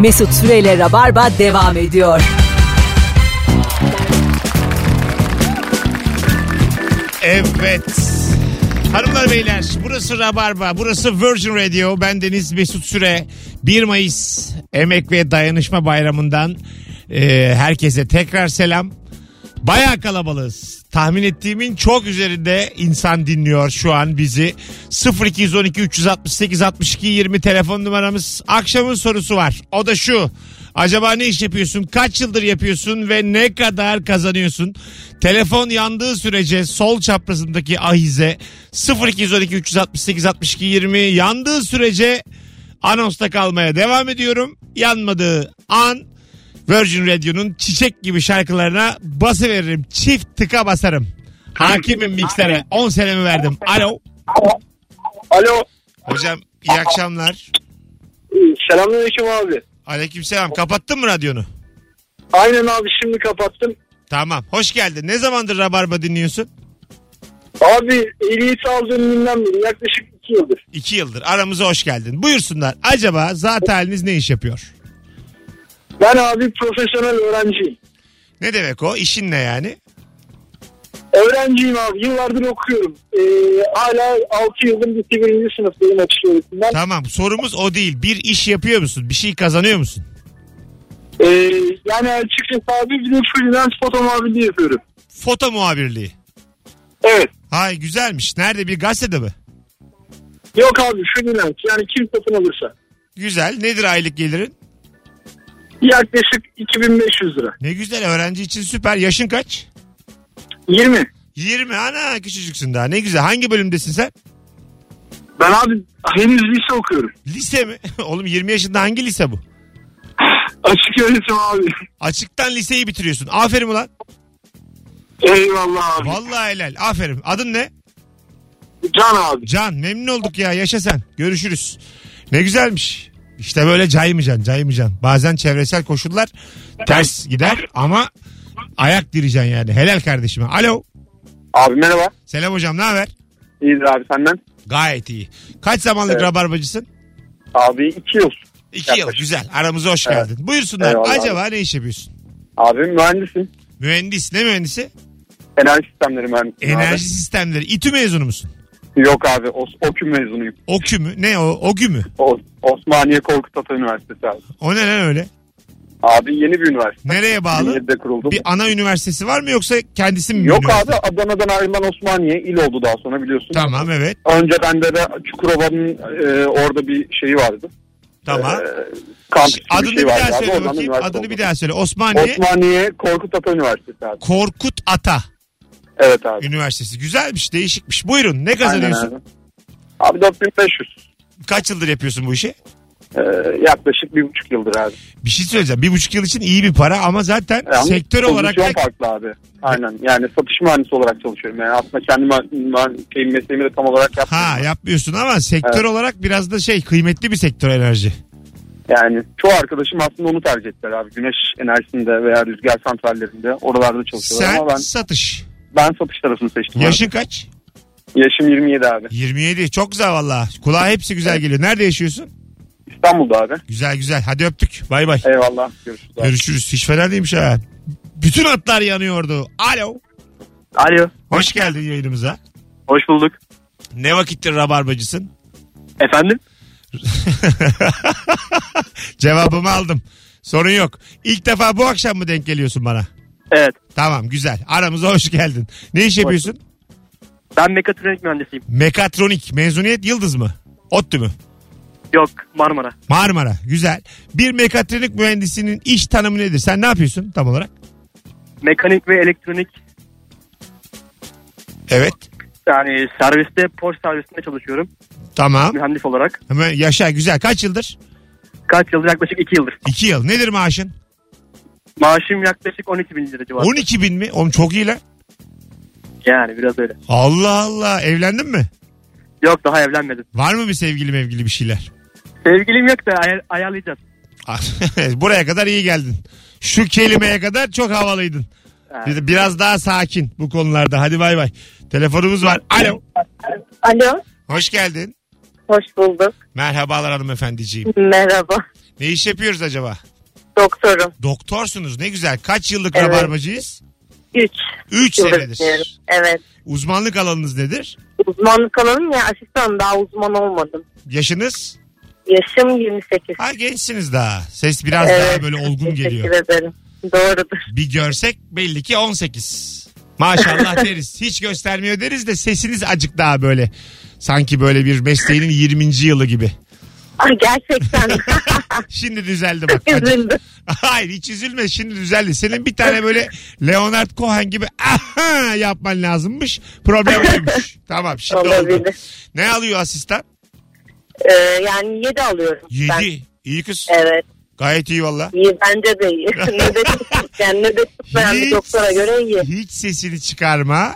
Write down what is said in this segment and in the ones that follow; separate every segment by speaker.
Speaker 1: Mesut Süreyle Rabarba devam ediyor.
Speaker 2: Evet. Hanımlar beyler burası Rabarba, burası Virgin Radio. Ben Deniz Mesut Süre. 1 Mayıs Emek ve Dayanışma Bayramı'ndan e, herkese tekrar selam. Baya kalabalığız. Tahmin ettiğimin çok üzerinde insan dinliyor şu an bizi. 0212 368 62 20 telefon numaramız. Akşamın sorusu var. O da şu. Acaba ne iş yapıyorsun? Kaç yıldır yapıyorsun ve ne kadar kazanıyorsun? Telefon yandığı sürece sol çaprazındaki ahize 0212 368 62 20 yandığı sürece anonsta kalmaya devam ediyorum. Yanmadığı an Virgin Radio'nun çiçek gibi şarkılarına bası veririm. Çift tıka basarım. Hakimim miksere. 10 senemi verdim. Alo.
Speaker 3: Alo.
Speaker 2: Hocam iyi akşamlar.
Speaker 3: Selamünaleyküm abi.
Speaker 2: Aleykümselam. Kapattın mı radyonu?
Speaker 3: Aynen abi şimdi kapattım.
Speaker 2: Tamam. Hoş geldin. Ne zamandır Rabarba dinliyorsun?
Speaker 3: Abi ehliyeti aldığım günden beri yaklaşık 2 yıldır.
Speaker 2: 2 yıldır. Aramıza hoş geldin. Buyursunlar. Acaba zat haliniz ne iş yapıyor?
Speaker 3: Ben abi profesyonel öğrenciyim.
Speaker 2: Ne demek o? İşin ne yani?
Speaker 3: Öğrenciyim abi yıllardır okuyorum. Ee, hala 6 yıldır bitti birinci sınıftayım açık öğretimden.
Speaker 2: Tamam. Sorumuz o değil. Bir iş yapıyor musun? Bir şey kazanıyor musun?
Speaker 3: Ee, yani açıkçası abi bir de freelance foto muhabirliği yapıyorum.
Speaker 2: Foto muhabirliği.
Speaker 3: Evet.
Speaker 2: Hay güzelmiş. Nerede? Bir gazetede mi?
Speaker 3: Yok abi freelance yani kim satın alırsa.
Speaker 2: Güzel. Nedir aylık gelirin?
Speaker 3: Yaklaşık 2500 lira.
Speaker 2: Ne güzel öğrenci için süper. Yaşın kaç?
Speaker 3: 20.
Speaker 2: 20 ana küçücüksün daha ne güzel. Hangi bölümdesin sen?
Speaker 3: Ben abi henüz lise okuyorum.
Speaker 2: Lise mi? Oğlum 20 yaşında hangi lise bu?
Speaker 3: Açık öğretim abi.
Speaker 2: Açıktan liseyi bitiriyorsun. Aferin ulan.
Speaker 3: Eyvallah abi.
Speaker 2: Vallahi helal. Aferin. Adın ne?
Speaker 3: Can abi.
Speaker 2: Can memnun olduk ya yaşa sen. Görüşürüz. Ne güzelmiş. İşte böyle caymayacaksın caymayacaksın. Bazen çevresel koşullar ters gider ama ayak direceksin yani. Helal kardeşime. Alo.
Speaker 3: Abi merhaba.
Speaker 2: Selam hocam ne haber?
Speaker 3: İyidir abi senden.
Speaker 2: Gayet iyi. Kaç zamanlık
Speaker 3: Evet.
Speaker 2: rabarbacısın?
Speaker 3: Abi iki yıl.
Speaker 2: İki yıl.
Speaker 3: Yaklaşık.
Speaker 2: Güzel. Aramıza hoş
Speaker 3: Evet.
Speaker 2: geldin. Buyursunlar.
Speaker 3: Eyvallah abi.
Speaker 2: Acaba ne iş yapıyorsun?
Speaker 3: Abi mühendisim.
Speaker 2: Mühendis. Ne mühendisi?
Speaker 3: Enerji sistemleri mühendisiyim
Speaker 2: Enerji sistemleri. İTÜ mezunu musun?
Speaker 3: abi. Yok abi o, OKÜ mezunuyum.
Speaker 2: OKÜ mü? Ne o? OKÜ mü?
Speaker 3: O, Osmaniye Korkut Ata Üniversitesi abi.
Speaker 2: O ne lan öyle?
Speaker 3: Abi yeni bir üniversite.
Speaker 2: Nereye bağlı?
Speaker 3: 2007'de kuruldu.
Speaker 2: Bir ana üniversitesi var mı yoksa kendisi mi? bir
Speaker 3: Yok
Speaker 2: üniversite?
Speaker 3: abi Adana'dan ayrılan Osmaniye il oldu daha sonra biliyorsun.
Speaker 2: Tamam evet.
Speaker 3: Önceden de, de Çukurova'nın e, orada bir şeyi vardı.
Speaker 2: Tamam.
Speaker 3: E, kampüs gibi
Speaker 2: adını
Speaker 3: bir
Speaker 2: bir
Speaker 3: şey vardı
Speaker 2: daha
Speaker 3: abi.
Speaker 2: söyle
Speaker 3: Oradan
Speaker 2: bakayım.
Speaker 3: üniversite
Speaker 2: Adını
Speaker 3: oldu.
Speaker 2: bir daha söyle. Osmaniye
Speaker 3: Osmaniye Korkut Ata Üniversitesi abi.
Speaker 2: Korkut Ata
Speaker 3: Evet abi.
Speaker 2: Üniversitesi. Güzelmiş, değişikmiş. Buyurun. Ne kazanıyorsun?
Speaker 3: Aynen Abi Abi 4500.
Speaker 2: Kaç yıldır yapıyorsun bu işi?
Speaker 3: Ee, yaklaşık bir buçuk yıldır abi.
Speaker 2: Bir şey söyleyeceğim. Bir buçuk yıl için iyi bir para ama zaten
Speaker 3: Yani
Speaker 2: sektör olarak
Speaker 3: pozisyon
Speaker 2: da
Speaker 3: farklı abi. Aynen. Yani satış mühendisi olarak çalışıyorum. Yani aslında kendi mü- mü- şey, mesleğimi de tam olarak yapmıyorum.
Speaker 2: ha yapmıyorsun ama sektör
Speaker 3: Evet.
Speaker 2: olarak biraz da şey kıymetli bir sektör enerji.
Speaker 3: Yani çoğu arkadaşım aslında onu tercih ettiler abi. Güneş enerjisinde veya rüzgar santrallerinde oralarda çalışıyorlar
Speaker 2: Sen
Speaker 3: ama ben
Speaker 2: satış.
Speaker 3: ben satış tarafını seçtim. abi.
Speaker 2: Yaşın kaç?
Speaker 3: Yaşım 27 abi.
Speaker 2: 27. Çok güzel valla. Kulağa hepsi güzel geliyor. Nerede yaşıyorsun?
Speaker 3: İstanbul'da abi.
Speaker 2: Güzel güzel. Hadi öptük. Bay bay.
Speaker 3: Eyvallah. Görüşürüz. Abi.
Speaker 2: Görüşürüz. Hiç fena değilmiş ha. Bütün hatlar yanıyordu. Alo.
Speaker 4: Alo.
Speaker 2: Hoş geldin yayınımıza.
Speaker 4: Hoş bulduk.
Speaker 2: Ne vakittir rabarbacısın?
Speaker 4: Efendim?
Speaker 2: Cevabımı aldım. Sorun yok. İlk defa bu akşam mı denk geliyorsun bana?
Speaker 4: Evet.
Speaker 2: Tamam güzel. Aramıza hoş geldin. Ne iş yapıyorsun?
Speaker 4: Ben mekatronik mühendisiyim.
Speaker 2: Mekatronik. Mezuniyet yıldız mı? ODTÜ mü?
Speaker 4: Yok Marmara.
Speaker 2: Marmara. Güzel. Bir mekatronik mühendisinin iş tanımı nedir? Sen ne yapıyorsun tam olarak?
Speaker 4: Mekanik ve elektronik
Speaker 2: Evet.
Speaker 4: yani serviste Porsche servisinde çalışıyorum.
Speaker 2: Tamam.
Speaker 4: Mühendis olarak.
Speaker 2: Hemen yaşa güzel. Kaç yıldır?
Speaker 4: Kaç yıldır? Yaklaşık 2 yıldır.
Speaker 2: İki yıl. Nedir maaşın?
Speaker 4: Maaşım yaklaşık 12 bin lira civarı.
Speaker 2: 12 bin mi? Oğlum çok iyi lan.
Speaker 4: Yani biraz öyle.
Speaker 2: Allah Allah. Evlendin mi?
Speaker 4: Yok daha evlenmedim.
Speaker 2: Var mı bir sevgili mevgili bir şeyler?
Speaker 4: Sevgilim yok da ay- ayarlayacağız.
Speaker 2: Buraya kadar iyi geldin. Şu kelimeye kadar çok havalıydın.
Speaker 4: Evet.
Speaker 2: Bir- Biraz daha sakin bu konularda. Hadi bay bay. Telefonumuz var. Alo.
Speaker 5: Alo,
Speaker 2: Hoş geldin.
Speaker 5: hoş bulduk.
Speaker 2: Merhabalar hanımefendiciğim.
Speaker 5: Merhaba.
Speaker 2: Ne iş yapıyoruz acaba?
Speaker 6: Doktorum.
Speaker 2: Doktorsunuz ne güzel. Kaç yıllık
Speaker 6: Evet.
Speaker 2: rabarbacıyız?
Speaker 6: 3.
Speaker 2: 3 senedir.
Speaker 6: Evet.
Speaker 2: Uzmanlık alanınız nedir?
Speaker 6: Uzmanlık alanım ya asistan daha uzman olmadım.
Speaker 2: Yaşınız?
Speaker 6: Yaşım 28.
Speaker 2: Ha gençsiniz daha. Ses biraz daha böyle olgun
Speaker 6: teşekkür
Speaker 2: geliyor.
Speaker 6: ederim. Doğrudur.
Speaker 2: Bir görsek belli ki 18. Maşallah deriz. Hiç göstermiyor deriz de sesiniz acık daha böyle. Sanki böyle bir mesleğinin 20. yılı gibi.
Speaker 6: Ah, gerçekten
Speaker 2: Şimdi düzeldi bak. Acık-
Speaker 6: üzüldüm.
Speaker 2: Hayır hiç üzülme şimdi düzeldi. Senin bir tane böyle Leonard Cohen gibi aha yapman lazımmış. Problem olmuş. tamam şimdi oldu.
Speaker 6: Olabilir.
Speaker 2: Ne alıyor asistan?
Speaker 6: Ee, yani 7 alıyorum. Ben.
Speaker 2: Yedi. İyi kız.
Speaker 6: Evet.
Speaker 2: Gayet iyi valla.
Speaker 6: İyi bence de iyi. nöbet, yani nöbet tutmayan bir doktora göre iyi.
Speaker 2: hiç sesini çıkarma.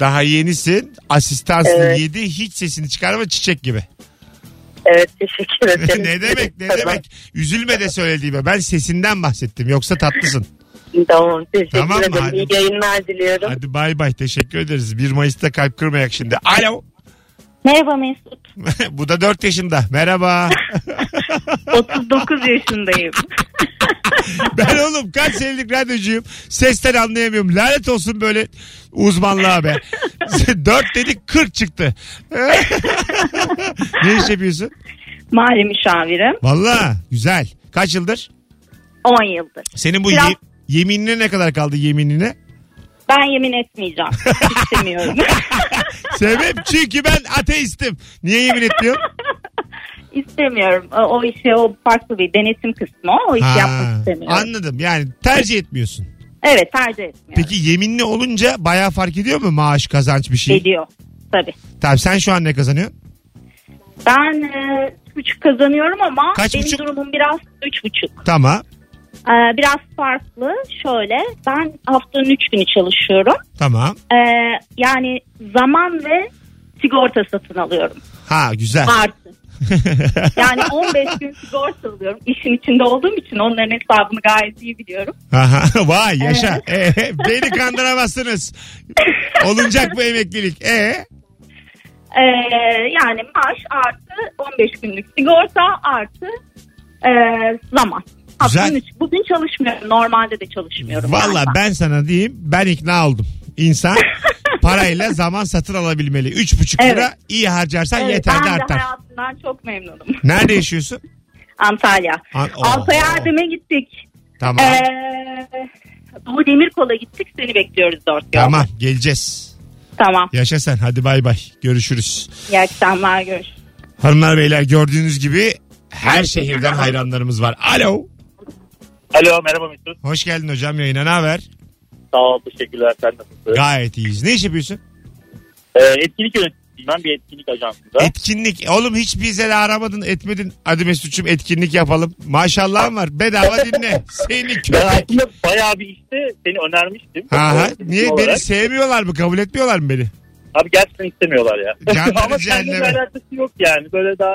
Speaker 2: Daha yenisin. Asistansın
Speaker 6: Evet.
Speaker 2: yedi. Hiç sesini çıkarma çiçek gibi.
Speaker 6: Evet teşekkür ederim.
Speaker 2: ne demek ne
Speaker 6: Tamam.
Speaker 2: demek. Üzülme de söylediğime. Ben sesinden bahsettim. Yoksa tatlısın.
Speaker 6: Tamam teşekkür
Speaker 2: Tamam mı?
Speaker 6: ederim.
Speaker 2: Hadi.
Speaker 6: İyi yayınlar diliyorum.
Speaker 2: Hadi bay bay teşekkür ederiz. 1 Mayıs'ta kalp kırmayak şimdi. Alo.
Speaker 7: Merhaba Mesut.
Speaker 2: Bu da 4 yaşında. Merhaba.
Speaker 7: 39 yaşındayım.
Speaker 2: ben oğlum kaç senelik radyocuyum. Sesten anlayamıyorum. Lanet olsun böyle uzmanlığa be. 4 dedik 40 çıktı. ne iş yapıyorsun?
Speaker 7: Mali müşavirim.
Speaker 2: Valla güzel. Kaç yıldır?
Speaker 7: 10 yıldır.
Speaker 2: Senin bu
Speaker 7: Biraz-
Speaker 2: ye- yeminine ne kadar kaldı yeminine?
Speaker 7: Ben yemin etmeyeceğim. İstemiyorum.
Speaker 2: Sebep çünkü ben ateistim. Niye yemin etmiyorum?
Speaker 7: istemiyorum. O, o işe o farklı bir denetim kısmı. O işi yapmak istemiyorum.
Speaker 2: anladım yani tercih etmiyorsun.
Speaker 7: evet tercih etmiyorum.
Speaker 2: Peki yeminli olunca bayağı fark ediyor mu maaş kazanç bir şey?
Speaker 7: Ediyor. Tabii.
Speaker 2: Tamam sen şu an ne kazanıyorsun?
Speaker 7: Ben e, üç buçuk kazanıyorum ama
Speaker 2: Kaç
Speaker 7: benim
Speaker 2: buçuk?
Speaker 7: durumum biraz üç buçuk.
Speaker 2: Tamam
Speaker 7: E, biraz farklı. Şöyle ben haftanın üç günü çalışıyorum.
Speaker 2: tamam.
Speaker 7: E, yani zaman ve sigorta satın alıyorum.
Speaker 2: Ha güzel.
Speaker 7: Artı. Yani 15 gün sigorta alıyorum. İşin içinde olduğum için onların hesabını gayet iyi biliyorum.
Speaker 2: Aha, vay yaşa. Ee, beni kandıramazsınız. Olunacak bu emeklilik. Ee,
Speaker 7: Ee, yani maaş artı 15 günlük sigorta artı e, zaman.
Speaker 2: Güzel.
Speaker 7: Haftanın üç- Bugün çalışmıyorum. Normalde de çalışmıyorum.
Speaker 2: Valla
Speaker 7: yani.
Speaker 2: ben sana diyeyim ben ikna oldum. İnsan parayla zaman satın alabilmeli. Üç buçuk lira
Speaker 7: Evet.
Speaker 2: iyi harcarsan
Speaker 7: Evet,
Speaker 2: yeterli
Speaker 7: ben de
Speaker 2: artar.
Speaker 7: hayatımdan çok memnunum.
Speaker 2: Nerede yaşıyorsun?
Speaker 7: Antalya.
Speaker 2: An- Oo.
Speaker 7: Alta yardım'a gittik.
Speaker 2: Tamam.
Speaker 7: Ee, Doğu Demirkol'a gittik. Seni bekliyoruz dört yol.
Speaker 2: Tamam geleceğiz.
Speaker 7: Tamam.
Speaker 2: Yaşa sen hadi bay bay görüşürüz.
Speaker 7: İyi akşamlar. Görüşürüz.
Speaker 2: Hanımlar beyler gördüğünüz gibi her şehirden hayranlarımız var. Alo.
Speaker 8: Alo merhaba Mesut.
Speaker 2: Hoş geldin hocam yayına ne haber?
Speaker 8: Sağ ol teşekkürler sen nasılsın?
Speaker 2: Gayet iyiyiz. Ne iş yapıyorsun?
Speaker 8: Ee, etkinlik yöneticiyim ben bir etkinlik ajansında.
Speaker 2: Etkinlik. Oğlum hiç bize de aramadın etmedin. Hadi Mesut'cum etkinlik yapalım. Maşallahın var. Bedava dinle. Seni
Speaker 8: ben
Speaker 2: köpek.
Speaker 8: aslında bayağı bir işte seni önermiştim.
Speaker 2: Aha,
Speaker 8: Ee,
Speaker 2: niye
Speaker 8: olarak.
Speaker 2: beni sevmiyorlar mı? Kabul etmiyorlar mı beni?
Speaker 8: Abi gerçekten istemiyorlar ya.
Speaker 2: Canları
Speaker 8: Ama seninle
Speaker 2: cehenneme.
Speaker 8: alakası yok yani. Böyle daha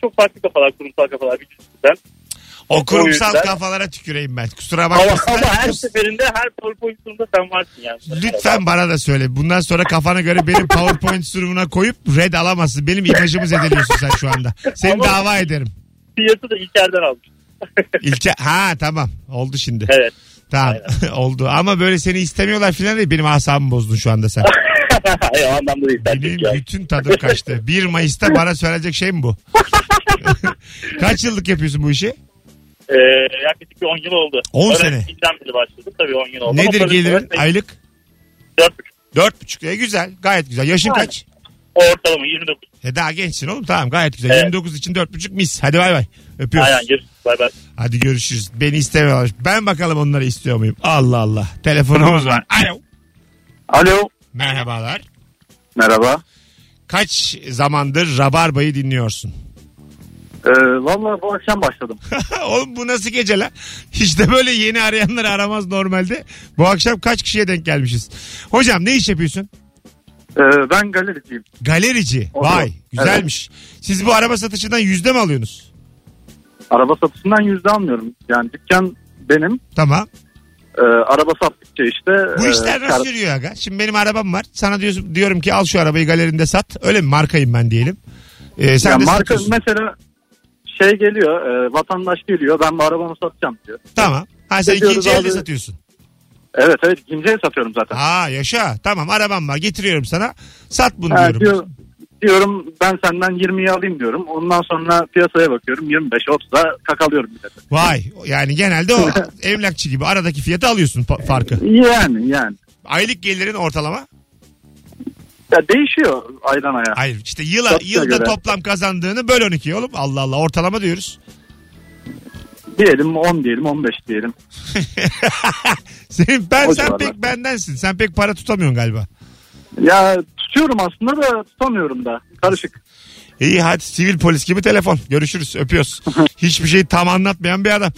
Speaker 8: çok farklı kafalar kurumsal kafalar bir yüzden.
Speaker 2: O kurumsal
Speaker 8: yüzden-
Speaker 2: kafalara tüküreyim ben. Kusura
Speaker 8: Ama,
Speaker 2: bakmasınlar.
Speaker 8: ama her şey- seferinde her pol pozisyonunda sen varsın yani.
Speaker 2: Lütfen bana da söyle. Bundan sonra kafana göre benim PowerPoint sunumuna koyup red alamazsın. Benim imajımı zedeliyorsun sen şu anda. Seni
Speaker 8: Ama-
Speaker 2: dava ederim.
Speaker 8: Fiyatı da İlker'den almış.
Speaker 2: İlçe ha tamam oldu şimdi.
Speaker 8: Evet.
Speaker 2: Tamam oldu ama böyle seni istemiyorlar filan değil benim asabımı bozdun şu anda sen.
Speaker 8: Hayır o anlamda değil. Ben
Speaker 2: Benim bütün tadım kaçtı. 1 Mayıs'ta bana söyleyecek şey mi bu? Kaç yıllık yapıyorsun bu işi?
Speaker 8: Ee, yaklaşık bir 10 yıl oldu.
Speaker 2: 10 sene.
Speaker 8: Öğrenciyken bile başladım tabii 10 yıl oldu.
Speaker 2: Nedir
Speaker 8: Ama
Speaker 2: gelirin
Speaker 8: böyle-
Speaker 2: aylık?
Speaker 8: 4,5.
Speaker 2: Dört buçuk. E, güzel gayet güzel. Yaşın kaç?
Speaker 8: Ortalama 29.
Speaker 2: E, daha gençsin oğlum tamam gayet güzel.
Speaker 8: Evet.
Speaker 2: 29 için dört buçuk mis. Hadi bay bay. Öpüyoruz.
Speaker 8: Aynen görüşürüz. Bay bay.
Speaker 2: Hadi görüşürüz. Beni istemiyorlar. Ben bakalım onları istiyor muyum? Allah Allah. Telefonumuz var. Alo.
Speaker 3: Alo.
Speaker 2: Merhabalar.
Speaker 3: Merhaba.
Speaker 2: Kaç zamandır Rabarba'yı dinliyorsun?
Speaker 3: Ee, Valla bu akşam başladım.
Speaker 2: Oğlum bu nasıl gece lan? Hiç de böyle yeni arayanları aramaz normalde. Bu akşam kaç kişiye denk gelmişiz? Hocam ne iş yapıyorsun?
Speaker 3: Ee, ben galericiyim.
Speaker 2: Galerici.
Speaker 3: Oğlum,
Speaker 2: Vay güzelmiş. Siz bu araba satışından yüzde mi alıyorsunuz?
Speaker 3: Araba satışından yüzde almıyorum. Yani dükkan benim.
Speaker 2: Tamam.
Speaker 3: Ee, araba sattıkça işte.
Speaker 2: Bu
Speaker 3: e,
Speaker 2: işler
Speaker 3: kar-
Speaker 2: nasıl yürüyor aga? Şimdi benim arabam var. Sana diyorsun, diyorum ki al şu arabayı galerinde sat. Öyle mi? Markayım ben diyelim. Ee, sen
Speaker 3: Ya
Speaker 2: de
Speaker 3: marka
Speaker 2: satıyorsun.
Speaker 3: mesela şey geliyor e, vatandaş geliyor ben bu arabamı satacağım diyor.
Speaker 2: Tamam. Ha sen
Speaker 3: Satıyoruz
Speaker 2: ikinci elde
Speaker 3: abi.
Speaker 2: satıyorsun.
Speaker 3: Evet evet kimseye satıyorum zaten.
Speaker 2: Ha yaşa. Tamam arabam var getiriyorum sana. Sat bunu
Speaker 3: Ha,
Speaker 2: diyorum.
Speaker 3: diyor, diyorum ben senden 20'yi alayım diyorum. Ondan sonra piyasaya bakıyorum 25 30'a kakalıyorum bir de.
Speaker 2: Vay yani genelde o emlakçı gibi aradaki fiyatı alıyorsun pa- farkı.
Speaker 3: Yani yani.
Speaker 2: Aylık gelirin ortalama.
Speaker 3: Ya değişiyor aydan aya.
Speaker 2: Hayır işte yıla,
Speaker 3: Çok da
Speaker 2: yılda
Speaker 3: göre.
Speaker 2: toplam kazandığını böl 12 oğlum. Allah Allah ortalama diyoruz.
Speaker 3: Diyelim 10 diyelim 15 diyelim.
Speaker 2: Senin, ben,
Speaker 3: O
Speaker 2: sen
Speaker 3: civarlar.
Speaker 2: pek bendensin. Sen pek para tutamıyorsun galiba.
Speaker 3: Ya tutuyorum aslında da tutamıyorum da. Karışık.
Speaker 2: İyi hadi sivil polis gibi telefon. Görüşürüz öpüyoruz. Hiçbir şeyi tam anlatmayan bir adam.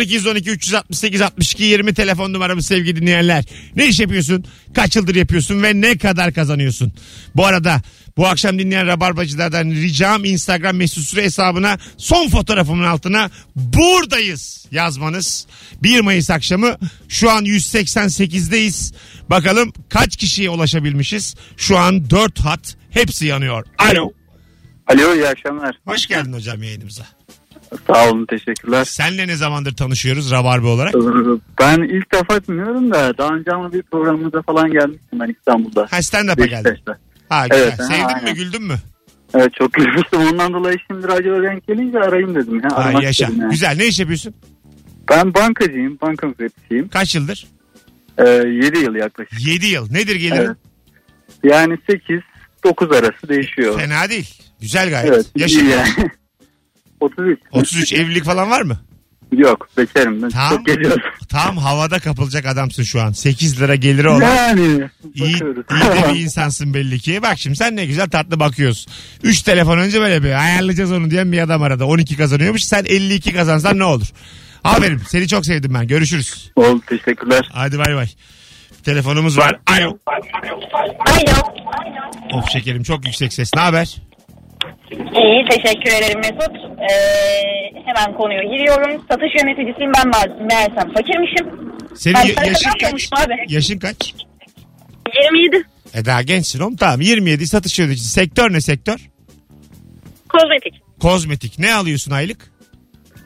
Speaker 2: 0212 368 62 20 telefon numaramı sevgili dinleyenler. Ne iş yapıyorsun? Kaç yıldır yapıyorsun ve ne kadar kazanıyorsun? Bu arada bu akşam dinleyen rabarbacılardan ricam Instagram mesut süre hesabına son fotoğrafımın altına buradayız yazmanız. 1 Mayıs akşamı şu an 188'deyiz. Bakalım kaç kişiye ulaşabilmişiz? Şu an 4 hat hepsi yanıyor. Alo.
Speaker 3: Alo iyi akşamlar.
Speaker 2: Hoş geldin hocam yayınımıza.
Speaker 3: Sağ olun teşekkürler.
Speaker 2: Senle ne zamandır tanışıyoruz Rabarbe olarak?
Speaker 3: Ben ilk defa bilmiyorum da daha önce ama bir programımıza falan gelmiştim ben İstanbul'da.
Speaker 2: Ha stand-up'a geldin.
Speaker 3: Beşiktaş'ta.
Speaker 2: Ha güzel.
Speaker 3: Evet, ha,
Speaker 2: Sevdin mi
Speaker 3: aynen.
Speaker 2: güldün mü?
Speaker 3: Evet çok gülmüştüm. Ondan dolayı şimdi radyo denk gelince arayayım dedim. Ya.
Speaker 2: Ha,
Speaker 3: aramak
Speaker 2: yaşa.
Speaker 3: istedim yani.
Speaker 2: Güzel ne iş yapıyorsun?
Speaker 3: Ben bankacıyım. Banka müfettişiyim.
Speaker 2: Kaç yıldır?
Speaker 3: Ee, 7 yıl yaklaşık.
Speaker 2: 7 yıl. Nedir gelirin?
Speaker 3: Evet. Yani 8-9 arası değişiyor.
Speaker 2: Fena değil. Güzel gayet.
Speaker 3: Evet.
Speaker 2: Yaşa.
Speaker 3: iyi yani. 33.
Speaker 2: 33 evlilik falan var mı?
Speaker 3: Yok bekarım. Ben
Speaker 2: Tam-
Speaker 3: Çok geliyorum.
Speaker 2: Tam havada kapılacak adamsın şu an. 8 lira geliri olan.
Speaker 3: Yani.
Speaker 2: İyi, iyi
Speaker 3: bakıyoruz.
Speaker 2: de bir insansın belli ki. Bak şimdi sen ne güzel tatlı bakıyorsun. 3 telefon önce böyle bir ayarlayacağız onu diyen bir adam arada. 12 kazanıyormuş. Sen 52 kazansan ne olur? Aferin. Seni çok sevdim ben. Görüşürüz.
Speaker 3: Oldu teşekkürler.
Speaker 2: Hadi bay bay. Telefonumuz var. Alo.
Speaker 6: Alo.
Speaker 2: Of şekerim çok yüksek ses. Ne haber?
Speaker 6: İyi teşekkür ederim Mesut. Ee, hemen konuya giriyorum. Satış yöneticisiyim ben ma- meğersem fakirmişim. Ben
Speaker 2: Senin ya-
Speaker 6: para
Speaker 2: yaşın
Speaker 6: kadar
Speaker 2: kaç?
Speaker 6: konuşma abi.
Speaker 2: Yaşın kaç?
Speaker 7: 27
Speaker 2: E daha gençsin oğlum. Tamam 27 satış yöneticisi. Sektör ne sektör?
Speaker 7: kozmetik.
Speaker 2: Kozmetik. Ne alıyorsun aylık?
Speaker 7: 3,5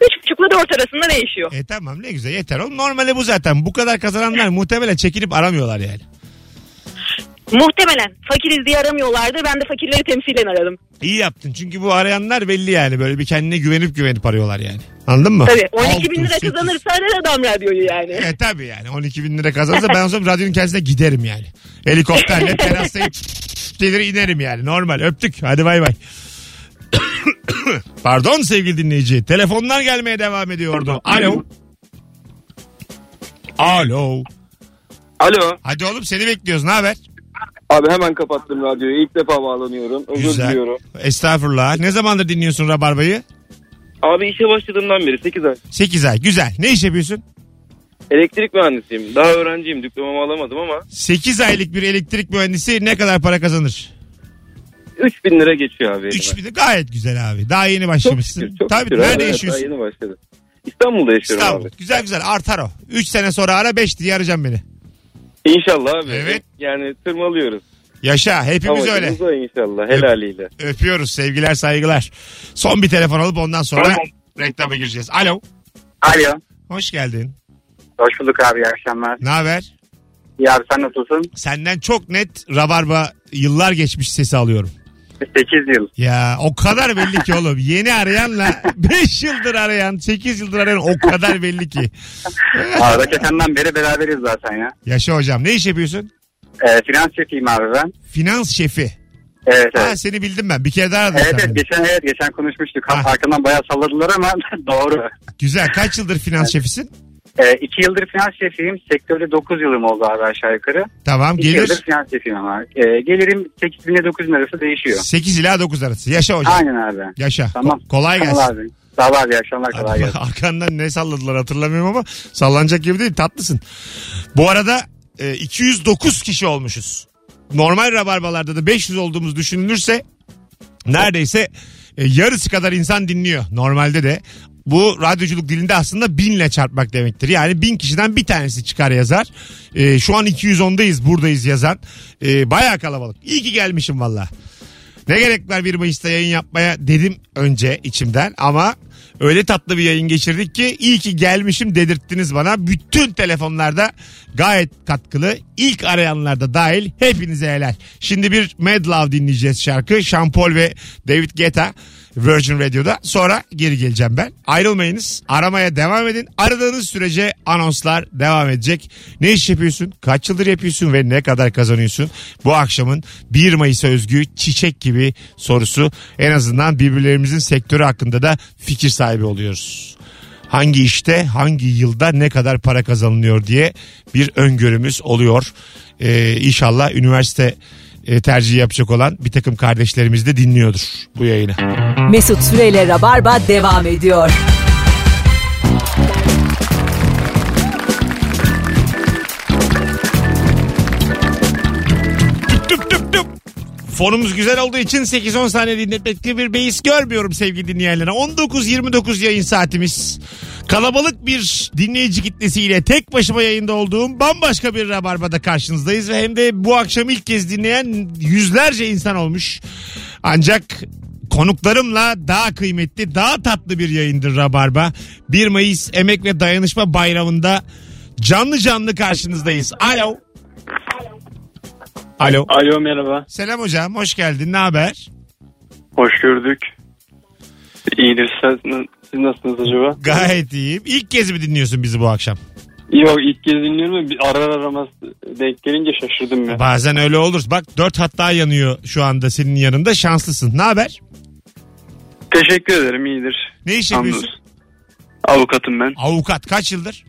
Speaker 7: ile 4 arasında değişiyor.
Speaker 2: E tamam ne güzel yeter oğlum. Normali bu zaten. Bu kadar kazananlar muhtemelen çekilip aramıyorlar yani.
Speaker 7: Muhtemelen fakiriz diye aramıyorlardı. Ben de fakirleri temsilen aradım.
Speaker 2: İyi yaptın. Çünkü bu arayanlar belli yani. Böyle bir kendine güvenip güvenip arıyorlar yani. Anladın mı?
Speaker 7: Tabii 12 bin
Speaker 2: Altı,
Speaker 7: lira
Speaker 2: sekiz.
Speaker 7: kazanırsa arar adam radyoyu yani.
Speaker 2: E tabii yani 12 bin lira kazanırsa ben o zaman radyonun kendisine giderim yani. Helikopterle terastayı gelir inerim yani normal öptük hadi bay bay. Pardon sevgili dinleyici telefonlar gelmeye devam ediyordu. Alo. Alo.
Speaker 9: Alo.
Speaker 2: Hadi oğlum seni bekliyoruz ne haber?
Speaker 9: Abi hemen kapattım radyoyu. İlk defa bağlanıyorum. Özür diliyorum.
Speaker 2: Estağfurullah. Ne zamandır dinliyorsun Rabarba'yı?
Speaker 9: Abi işe başladığımdan beri 8 ay.
Speaker 2: 8 ay. Güzel. Ne iş yapıyorsun?
Speaker 9: Elektrik mühendisiyim. Daha öğrenciyim. Diplomamı alamadım ama
Speaker 2: 8 aylık bir elektrik mühendisi ne kadar para kazanır?
Speaker 9: 3000 lira geçiyor abi. elime.
Speaker 2: 3 bin gayet güzel abi. Daha yeni
Speaker 9: Çok
Speaker 2: başlamışsın.
Speaker 9: şükür. Çok
Speaker 2: tabii
Speaker 9: şükür. abi.
Speaker 2: nerede
Speaker 9: Evet,
Speaker 2: yaşıyorsun?
Speaker 9: Daha yeni başladı. İstanbul'da yaşıyorum
Speaker 2: İstanbul.
Speaker 9: abi.
Speaker 2: Güzel güzel artar o. 3 sene sonra ara 5 diye arayacaksın beni.
Speaker 9: İnşallah abi.
Speaker 2: Evet.
Speaker 9: Yani tırmalıyoruz.
Speaker 2: Yaşa hepimiz
Speaker 9: Ama
Speaker 2: öyle.
Speaker 9: yolumuz o inşallah helaliyle.
Speaker 2: Öpüyoruz sevgiler saygılar. Son bir telefon alıp ondan sonra reklama gireceğiz. Alo.
Speaker 3: Alo.
Speaker 2: Hoş geldin.
Speaker 3: Hoş bulduk abi iyi akşamlar.
Speaker 2: Ne haber?
Speaker 3: İyi abi sen nasılsın?
Speaker 2: Senden çok net rabarba yıllar geçmiş sesi alıyorum.
Speaker 3: 8 yıl.
Speaker 2: Ya o kadar belli ki oğlum. Yeni arayanla 5 yıldır arayan, 8 yıldır arayan o kadar belli ki.
Speaker 3: Arada kesenden beri beraberiz zaten ya.
Speaker 2: Yaşa hocam. Ne iş yapıyorsun?
Speaker 3: Ee, finans şefiyim abi ben.
Speaker 2: Finans şefi.
Speaker 3: Evet
Speaker 2: Ha,
Speaker 3: evet.
Speaker 2: seni bildim ben. Bir kere daha aradım.
Speaker 3: Evet,
Speaker 2: sen
Speaker 3: evet
Speaker 2: beni.
Speaker 3: geçen evet geçen konuşmuştuk.
Speaker 2: Ha.
Speaker 3: Arkamdan bayağı salladılar ama doğru.
Speaker 2: Güzel. Kaç yıldır finans şefisin?
Speaker 3: Ee, iki yıldır finans şefiyim. Sektörde 9 yılım oldu abi aşağı yukarı.
Speaker 2: Tamam
Speaker 3: İki
Speaker 2: gelir.
Speaker 3: yıldır finans şefiyim ama. Ee, gelirim 8 ile 9 bin arası değişiyor.
Speaker 2: 8 ila 9 arası. Yaşa hocam.
Speaker 3: Aynen abi.
Speaker 2: Yaşa.
Speaker 3: Tamam.
Speaker 2: Ko- kolay gelsin.
Speaker 3: Tamam abi. Sağ ol abi. iyi akşamlar. Kolay
Speaker 2: Hadi
Speaker 3: gelsin.
Speaker 2: bak, Arkandan ne salladılar hatırlamıyorum ama sallanacak gibi değil tatlısın. Bu arada e, 209 kişi olmuşuz. Normal rabarbalarda da 500 olduğumuz düşünülürse neredeyse e, yarısı kadar insan dinliyor normalde de. Bu radyoculuk dilinde aslında binle çarpmak demektir. Yani bin kişiden bir tanesi çıkar yazar. E, şu an 210'dayız buradayız yazan. E, Baya kalabalık. İyi ki gelmişim valla. Ne gerek var 1 Mayıs'ta yayın yapmaya dedim önce içimden ama öyle tatlı bir yayın geçirdik ki iyi ki gelmişim dedirttiniz bana. Bütün telefonlarda gayet katkılı. İlk arayanlarda dahil hepinize helal. Şimdi bir Mad Love dinleyeceğiz şarkı. Şampol ve David Guetta Virgin Radio'da. Sonra geri geleceğim ben. Ayrılmayınız. Aramaya devam edin. Aradığınız sürece anonslar devam edecek. Ne iş yapıyorsun? Kaç yıldır yapıyorsun ve ne kadar kazanıyorsun? Bu akşamın 1 Mayıs'a özgü çiçek gibi sorusu. En azından birbirlerimizin sektörü hakkında da fikir sahibi oluyoruz. Hangi işte, hangi yılda ne kadar para kazanılıyor diye bir öngörümüz oluyor. Ee, inşallah üniversite e, tercihi yapacak olan bir takım kardeşlerimiz de dinliyordur bu yayını.
Speaker 1: Mesut Süreyle Rabarba devam ediyor.
Speaker 2: Tüp tüp tüp. Fonumuz güzel olduğu için 8-10 saniye dinletmekte bir beis görmüyorum sevgili dinleyenlere. 19-29 yayın saatimiz. Kalabalık bir dinleyici kitlesiyle tek başıma yayında olduğum bambaşka bir Rabarba'da karşınızdayız. Ve hem de bu akşam ilk kez dinleyen yüzlerce insan olmuş. Ancak konuklarımla daha kıymetli, daha tatlı bir yayındır Rabarba. 1 Mayıs Emek ve Dayanışma Bayramı'nda canlı canlı karşınızdayız. Alo. Alo.
Speaker 10: Alo merhaba.
Speaker 2: Selam hocam, hoş geldin. Ne haber?
Speaker 10: Hoş gördük. İyidir. Siz, siz nasılsınız acaba?
Speaker 2: Gayet iyiyim. İlk kez mi dinliyorsun bizi bu akşam?
Speaker 10: Yok ilk kez dinliyorum. da Bir arar aramaz denk gelince şaşırdım ya.
Speaker 2: Bazen öyle olur. Bak dört hatta yanıyor şu anda senin yanında. Şanslısın. Ne haber?
Speaker 10: Teşekkür ederim iyidir.
Speaker 2: Ne iş yapıyorsun?
Speaker 10: Hamdolsun. Avukatım ben.
Speaker 2: Avukat kaç yıldır?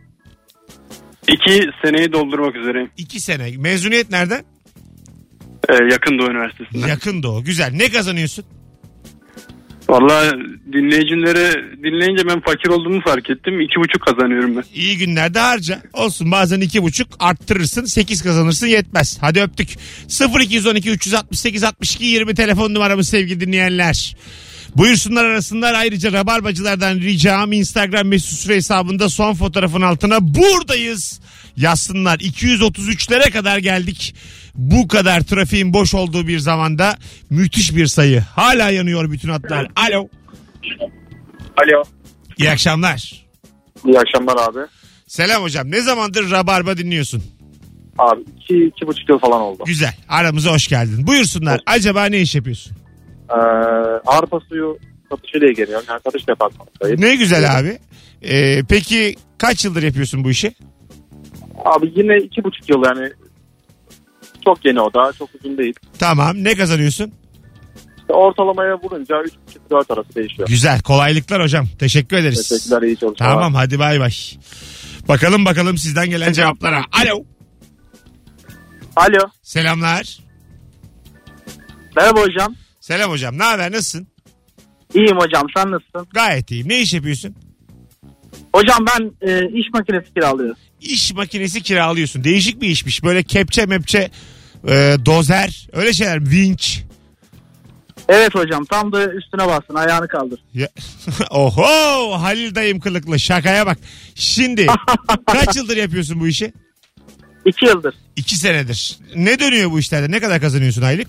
Speaker 10: İki seneyi doldurmak üzereyim.
Speaker 2: İki sene. Mezuniyet nereden?
Speaker 10: Ee, yakın Doğu Üniversitesi'nde.
Speaker 2: Yakın doğu. Güzel. Ne kazanıyorsun?
Speaker 10: Valla dinleyicilere dinleyince ben fakir olduğumu fark ettim. İki buçuk kazanıyorum ben.
Speaker 2: İyi günlerde harca. Olsun bazen iki buçuk arttırırsın. Sekiz kazanırsın yetmez. Hadi öptük. 0212 368 62 20 telefon numaramız sevgili dinleyenler. Buyursunlar arasınlar ayrıca Rabarbacılardan ricam Instagram mesut süre hesabında son fotoğrafın altına buradayız yazsınlar. 233'lere kadar geldik. Bu kadar trafiğin boş olduğu bir zamanda müthiş bir sayı. Hala yanıyor bütün hatlar. Alo.
Speaker 11: Alo.
Speaker 2: İyi akşamlar.
Speaker 11: İyi akşamlar abi.
Speaker 2: Selam hocam. Ne zamandır Rabarba dinliyorsun?
Speaker 11: Abi iki, iki buçuk yıl falan oldu.
Speaker 2: Güzel. Aramıza hoş geldin. Buyursunlar. Acaba ne iş yapıyorsun?
Speaker 11: Ee, arpa suyu satışıyla ilgileniyorum. Yani satış departmanındayım.
Speaker 2: Ne güzel abi. Ee, peki kaç yıldır yapıyorsun bu işi?
Speaker 11: Abi yine iki buçuk yıl yani çok yeni o daha çok uzun değil.
Speaker 2: Tamam. Ne kazanıyorsun?
Speaker 11: İşte ortalamaya vurunca 3-4 arası değişiyor.
Speaker 2: Güzel. Kolaylıklar hocam. Teşekkür ederiz.
Speaker 11: Teşekkürler iyi çalışmalar.
Speaker 2: Tamam hadi bay bay. Bakalım bakalım sizden gelen cevaplara. Alo.
Speaker 11: Alo.
Speaker 2: Selamlar.
Speaker 12: Merhaba hocam.
Speaker 2: Selam hocam. Ne haber? Nasılsın?
Speaker 12: İyiyim hocam sen nasılsın?
Speaker 2: Gayet iyiyim. Ne iş yapıyorsun?
Speaker 12: Hocam ben e, iş makinesi kiralıyorum.
Speaker 2: İş makinesi kiralıyorsun. Değişik bir işmiş. Böyle kepçe mepçe e, dozer öyle şeyler vinç.
Speaker 12: Evet hocam tam da üstüne bassın ayağını kaldır.
Speaker 2: Ya- Oho Halil dayım kılıklı şakaya bak. Şimdi kaç yıldır yapıyorsun bu işi?
Speaker 12: İki yıldır.
Speaker 2: İki senedir. Ne dönüyor bu işlerde? Ne kadar kazanıyorsun aylık?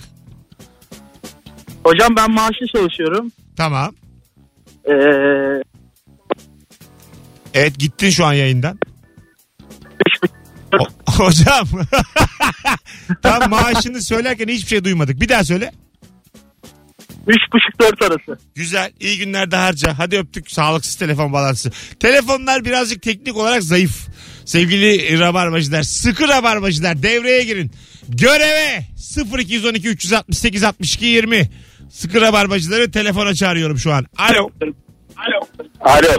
Speaker 12: Hocam ben maaşlı çalışıyorum.
Speaker 2: Tamam.
Speaker 12: Ee,
Speaker 2: Evet gittin şu an yayından. O- Hocam. Tam maaşını söylerken hiçbir şey duymadık. Bir daha söyle.
Speaker 12: Üç buçuk dört arası.
Speaker 2: Güzel. iyi günler de harca. Hadi öptük. Sağlıksız telefon balansı. Telefonlar birazcık teknik olarak zayıf. Sevgili rabarbacılar, sıkı rabarbacılar devreye girin. Göreve 0212 368 62 20. Sıkı rabarbacıları telefona çağırıyorum şu an. Alo.
Speaker 3: Alo.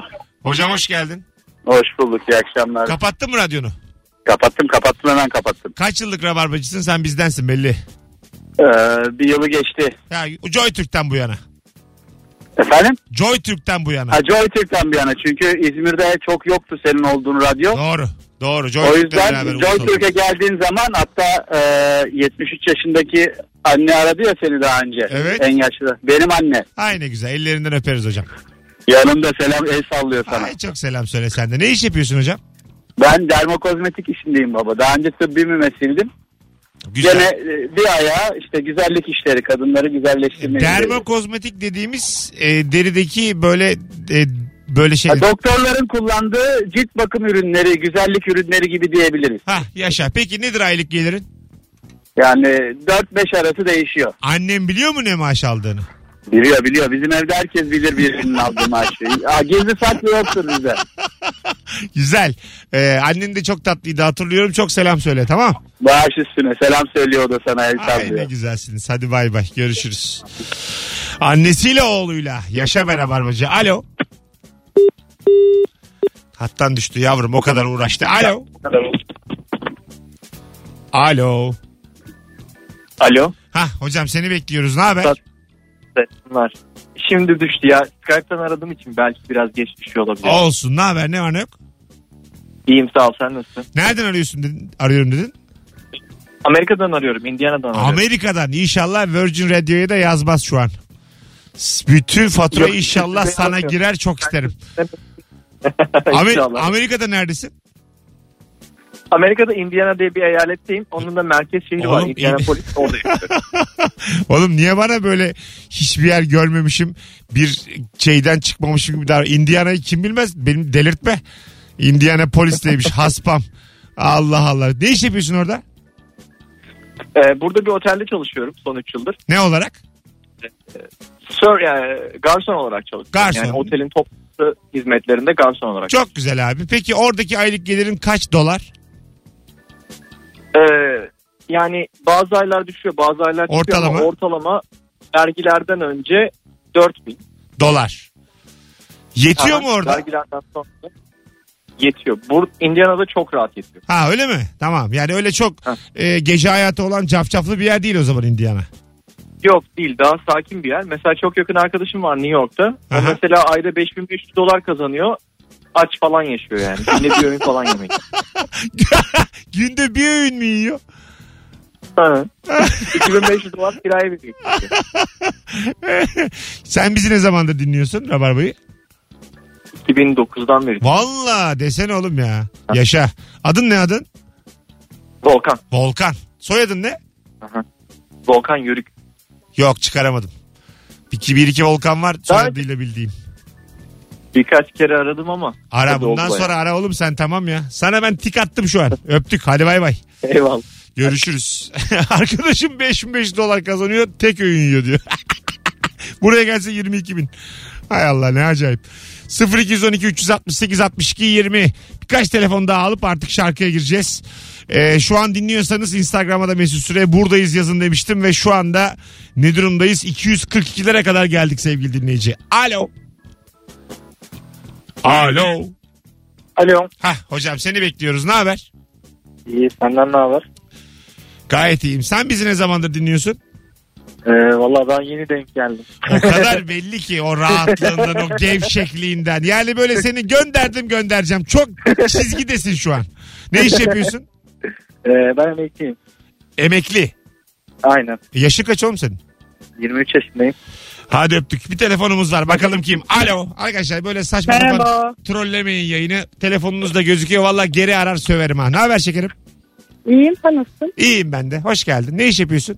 Speaker 2: Hocam hoş geldin.
Speaker 3: Hoş bulduk. İyi akşamlar.
Speaker 2: Kapattın mı radyonu?
Speaker 3: kapattım kapattım hemen kapattım.
Speaker 2: Kaç yıllık rabarbacısın sen bizdensin belli.
Speaker 12: E,
Speaker 3: Ee, bir yılı geçti.
Speaker 2: Ya Joy Türk'ten bu yana.
Speaker 3: Efendim?
Speaker 2: Joy Türk'ten bu yana.
Speaker 3: Ha, Joy Türk'ten bir yana. Çünkü İzmir'de çok yoktu senin olduğun radyo.
Speaker 2: Doğru. Doğru. Joy
Speaker 3: o
Speaker 2: Türk'le beraber
Speaker 3: yüzden Joy
Speaker 2: olmuş
Speaker 3: Türk'e geldiğin zaman hatta e, 73 yaşındaki anne aradı ya seni daha önce.
Speaker 2: Evet.
Speaker 3: En yaşlı. Benim anne.
Speaker 2: Ay ne güzel. Ellerinden öperiz hocam.
Speaker 3: Yanımda selam el sallıyor sana.
Speaker 2: Ay çok selam söyle sen de. Ne iş yapıyorsun hocam?
Speaker 3: Ben dermokozmetik işindeyim baba. Daha önce tıbbi mümessildim.
Speaker 2: Güzel.
Speaker 10: Gene e, bir ayağı işte güzellik işleri kadınları
Speaker 2: E,
Speaker 10: güzelleştirme. işleri.
Speaker 2: Dermokozmetik dediğimiz e, derideki böyle e, böyle şey.
Speaker 10: Ha, Doktorların kullandığı cilt bakım ürünleri, güzellik ürünleri gibi diyebiliriz.
Speaker 2: Hah yaşa. Peki nedir aylık gelirin?
Speaker 10: Yani 4-5 arası değişiyor.
Speaker 2: Annem biliyor mu ne maaş aldığını?
Speaker 10: Biliyor biliyor. Bizim evde herkes bilir birbirinin aldığı maaşı. Aa, gizli saklı yoktur bizde.
Speaker 2: Güzel. Ee, annen de çok tatlıydı hatırlıyorum. Çok selam söyle tamam.
Speaker 10: Bağış üstüne selam söylüyor o da sana el
Speaker 2: Ay ne
Speaker 10: sallıyor.
Speaker 2: güzelsiniz. Hadi bay bay. Görüşürüz. Annesiyle oğluyla. Yaşa beraber bacı. Alo. Hattan düştü yavrum o kadar uğraştı. Alo. Alo.
Speaker 3: Alo.
Speaker 2: Hah hocam seni bekliyoruz. Ne haber?
Speaker 3: Var. Şimdi düştü ya. Skype'tan aradığım için belki biraz geç düşüyor olabilir.
Speaker 2: Olsun. Ne haber? Ne var ne yok?
Speaker 3: İyiyim sağ ol sen nasılsın?
Speaker 2: Nereden arıyorsun dedin? Arıyorum dedin.
Speaker 3: Amerika'dan arıyorum. Indiana'dan arıyorum.
Speaker 2: Amerika'dan. İnşallah Virgin Radio'ya da yazmaz şu an. S- Bütün fatura
Speaker 3: Yok,
Speaker 2: inşallah
Speaker 3: kimse
Speaker 2: sana
Speaker 3: yazmıyor.
Speaker 2: girer çok isterim. Amer-
Speaker 3: İnşallah.
Speaker 2: Amerika'da neredesin?
Speaker 3: Amerika'da Indiana diye bir eyaletteyim. Onun da merkez şehri var.
Speaker 2: Oğlum,
Speaker 3: Indianapolis orada yaşıyorum.
Speaker 2: Oğlum niye bana böyle hiçbir yer görmemişim bir şeyden çıkmamışım gibi daha Indiana'yı kim bilmez benim delirtme. Indiana polis demiş haspam. Allah Allah. Ne iş yapıyorsun orada?
Speaker 3: Ee, burada bir otelde çalışıyorum son 3 yıldır.
Speaker 2: Ne olarak?
Speaker 3: Sir yani garson olarak çalışıyorum.
Speaker 2: Garson.
Speaker 3: Yani otelin toplu hizmetlerinde garson olarak.
Speaker 2: Çok güzel abi. Peki oradaki aylık gelirin kaç dolar?
Speaker 3: Ee, yani bazı aylar düşüyor bazı aylar çıkıyor
Speaker 2: Ortalama?
Speaker 3: ama ortalama vergilerden önce 4000.
Speaker 2: Dolar. Yetiyor
Speaker 3: Aha,
Speaker 2: mu orada?
Speaker 3: Vergilerden sonra yetiyor. Bur Indiana'da çok rahat yetiyor.
Speaker 2: Ha öyle mi? Tamam. Yani öyle çok e, gece hayatı olan cafcaflı bir yer değil o zaman Indiana.
Speaker 3: Yok değil daha sakin bir yer. Mesela çok yakın arkadaşım var New York'ta. O
Speaker 2: Aha.
Speaker 3: mesela ayda 5500 dolar kazanıyor. Aç falan yaşıyor yani. Yine bir öğün falan yemek.
Speaker 2: Günde bir öğün mü yiyor?
Speaker 3: Ha. 2500 dolar kiraya şey. veriyor.
Speaker 2: Sen bizi ne zamandır dinliyorsun Rabarba'yı?
Speaker 3: 2009'dan beri.
Speaker 2: Valla desene oğlum ya. Yaşa. Adın ne adın?
Speaker 3: Volkan.
Speaker 2: Volkan. Soyadın ne?
Speaker 3: Volkan Yörük.
Speaker 2: Yok çıkaramadım. 2 bir iki Volkan var soyadıyla bildiğim.
Speaker 3: Birkaç kere aradım ama.
Speaker 2: Ara
Speaker 3: Hadi oldu
Speaker 2: bundan
Speaker 3: bayağı.
Speaker 2: sonra ara oğlum sen tamam ya. Sana ben tik attım şu an. Öptük hadi bay bay.
Speaker 3: Eyvallah.
Speaker 2: Görüşürüz. Arkadaşım 5005 dolar kazanıyor tek öğün yiyor diyor. Buraya gelse 22 bin. Hay Allah ne acayip. 0212 368 62 20 birkaç telefon daha alıp artık şarkıya gireceğiz. Ee, şu an dinliyorsanız Instagram'a da Mesut Süre buradayız yazın demiştim ve şu anda ne durumdayız? 242'lere kadar geldik sevgili dinleyici. Alo. Alo.
Speaker 13: Alo.
Speaker 2: Hah hocam seni bekliyoruz. Ne haber?
Speaker 13: İyi senden ne haber?
Speaker 2: Gayet iyiyim. Sen bizi ne zamandır dinliyorsun?
Speaker 13: Ee, Valla ben yeni denk geldim.
Speaker 2: O kadar belli ki o rahatlığından, o gevşekliğinden. Yani böyle seni gönderdim göndereceğim. Çok çizgidesin şu an. Ne iş yapıyorsun?
Speaker 13: Ee, ben emekliyim.
Speaker 2: Emekli.
Speaker 13: Aynen.
Speaker 2: Yaşı kaç oğlum senin?
Speaker 13: 23 yaşındayım.
Speaker 2: Hadi öptük. Bir telefonumuz var. Bakalım kim? Alo. Arkadaşlar böyle saçma
Speaker 5: Merhaba.
Speaker 2: sapan trollemeyin yayını. Telefonunuz da gözüküyor. Valla geri arar söverim ha. Ne haber şekerim?
Speaker 5: İyiyim sen nasılsın?
Speaker 2: İyiyim ben de. Hoş geldin. Ne iş yapıyorsun?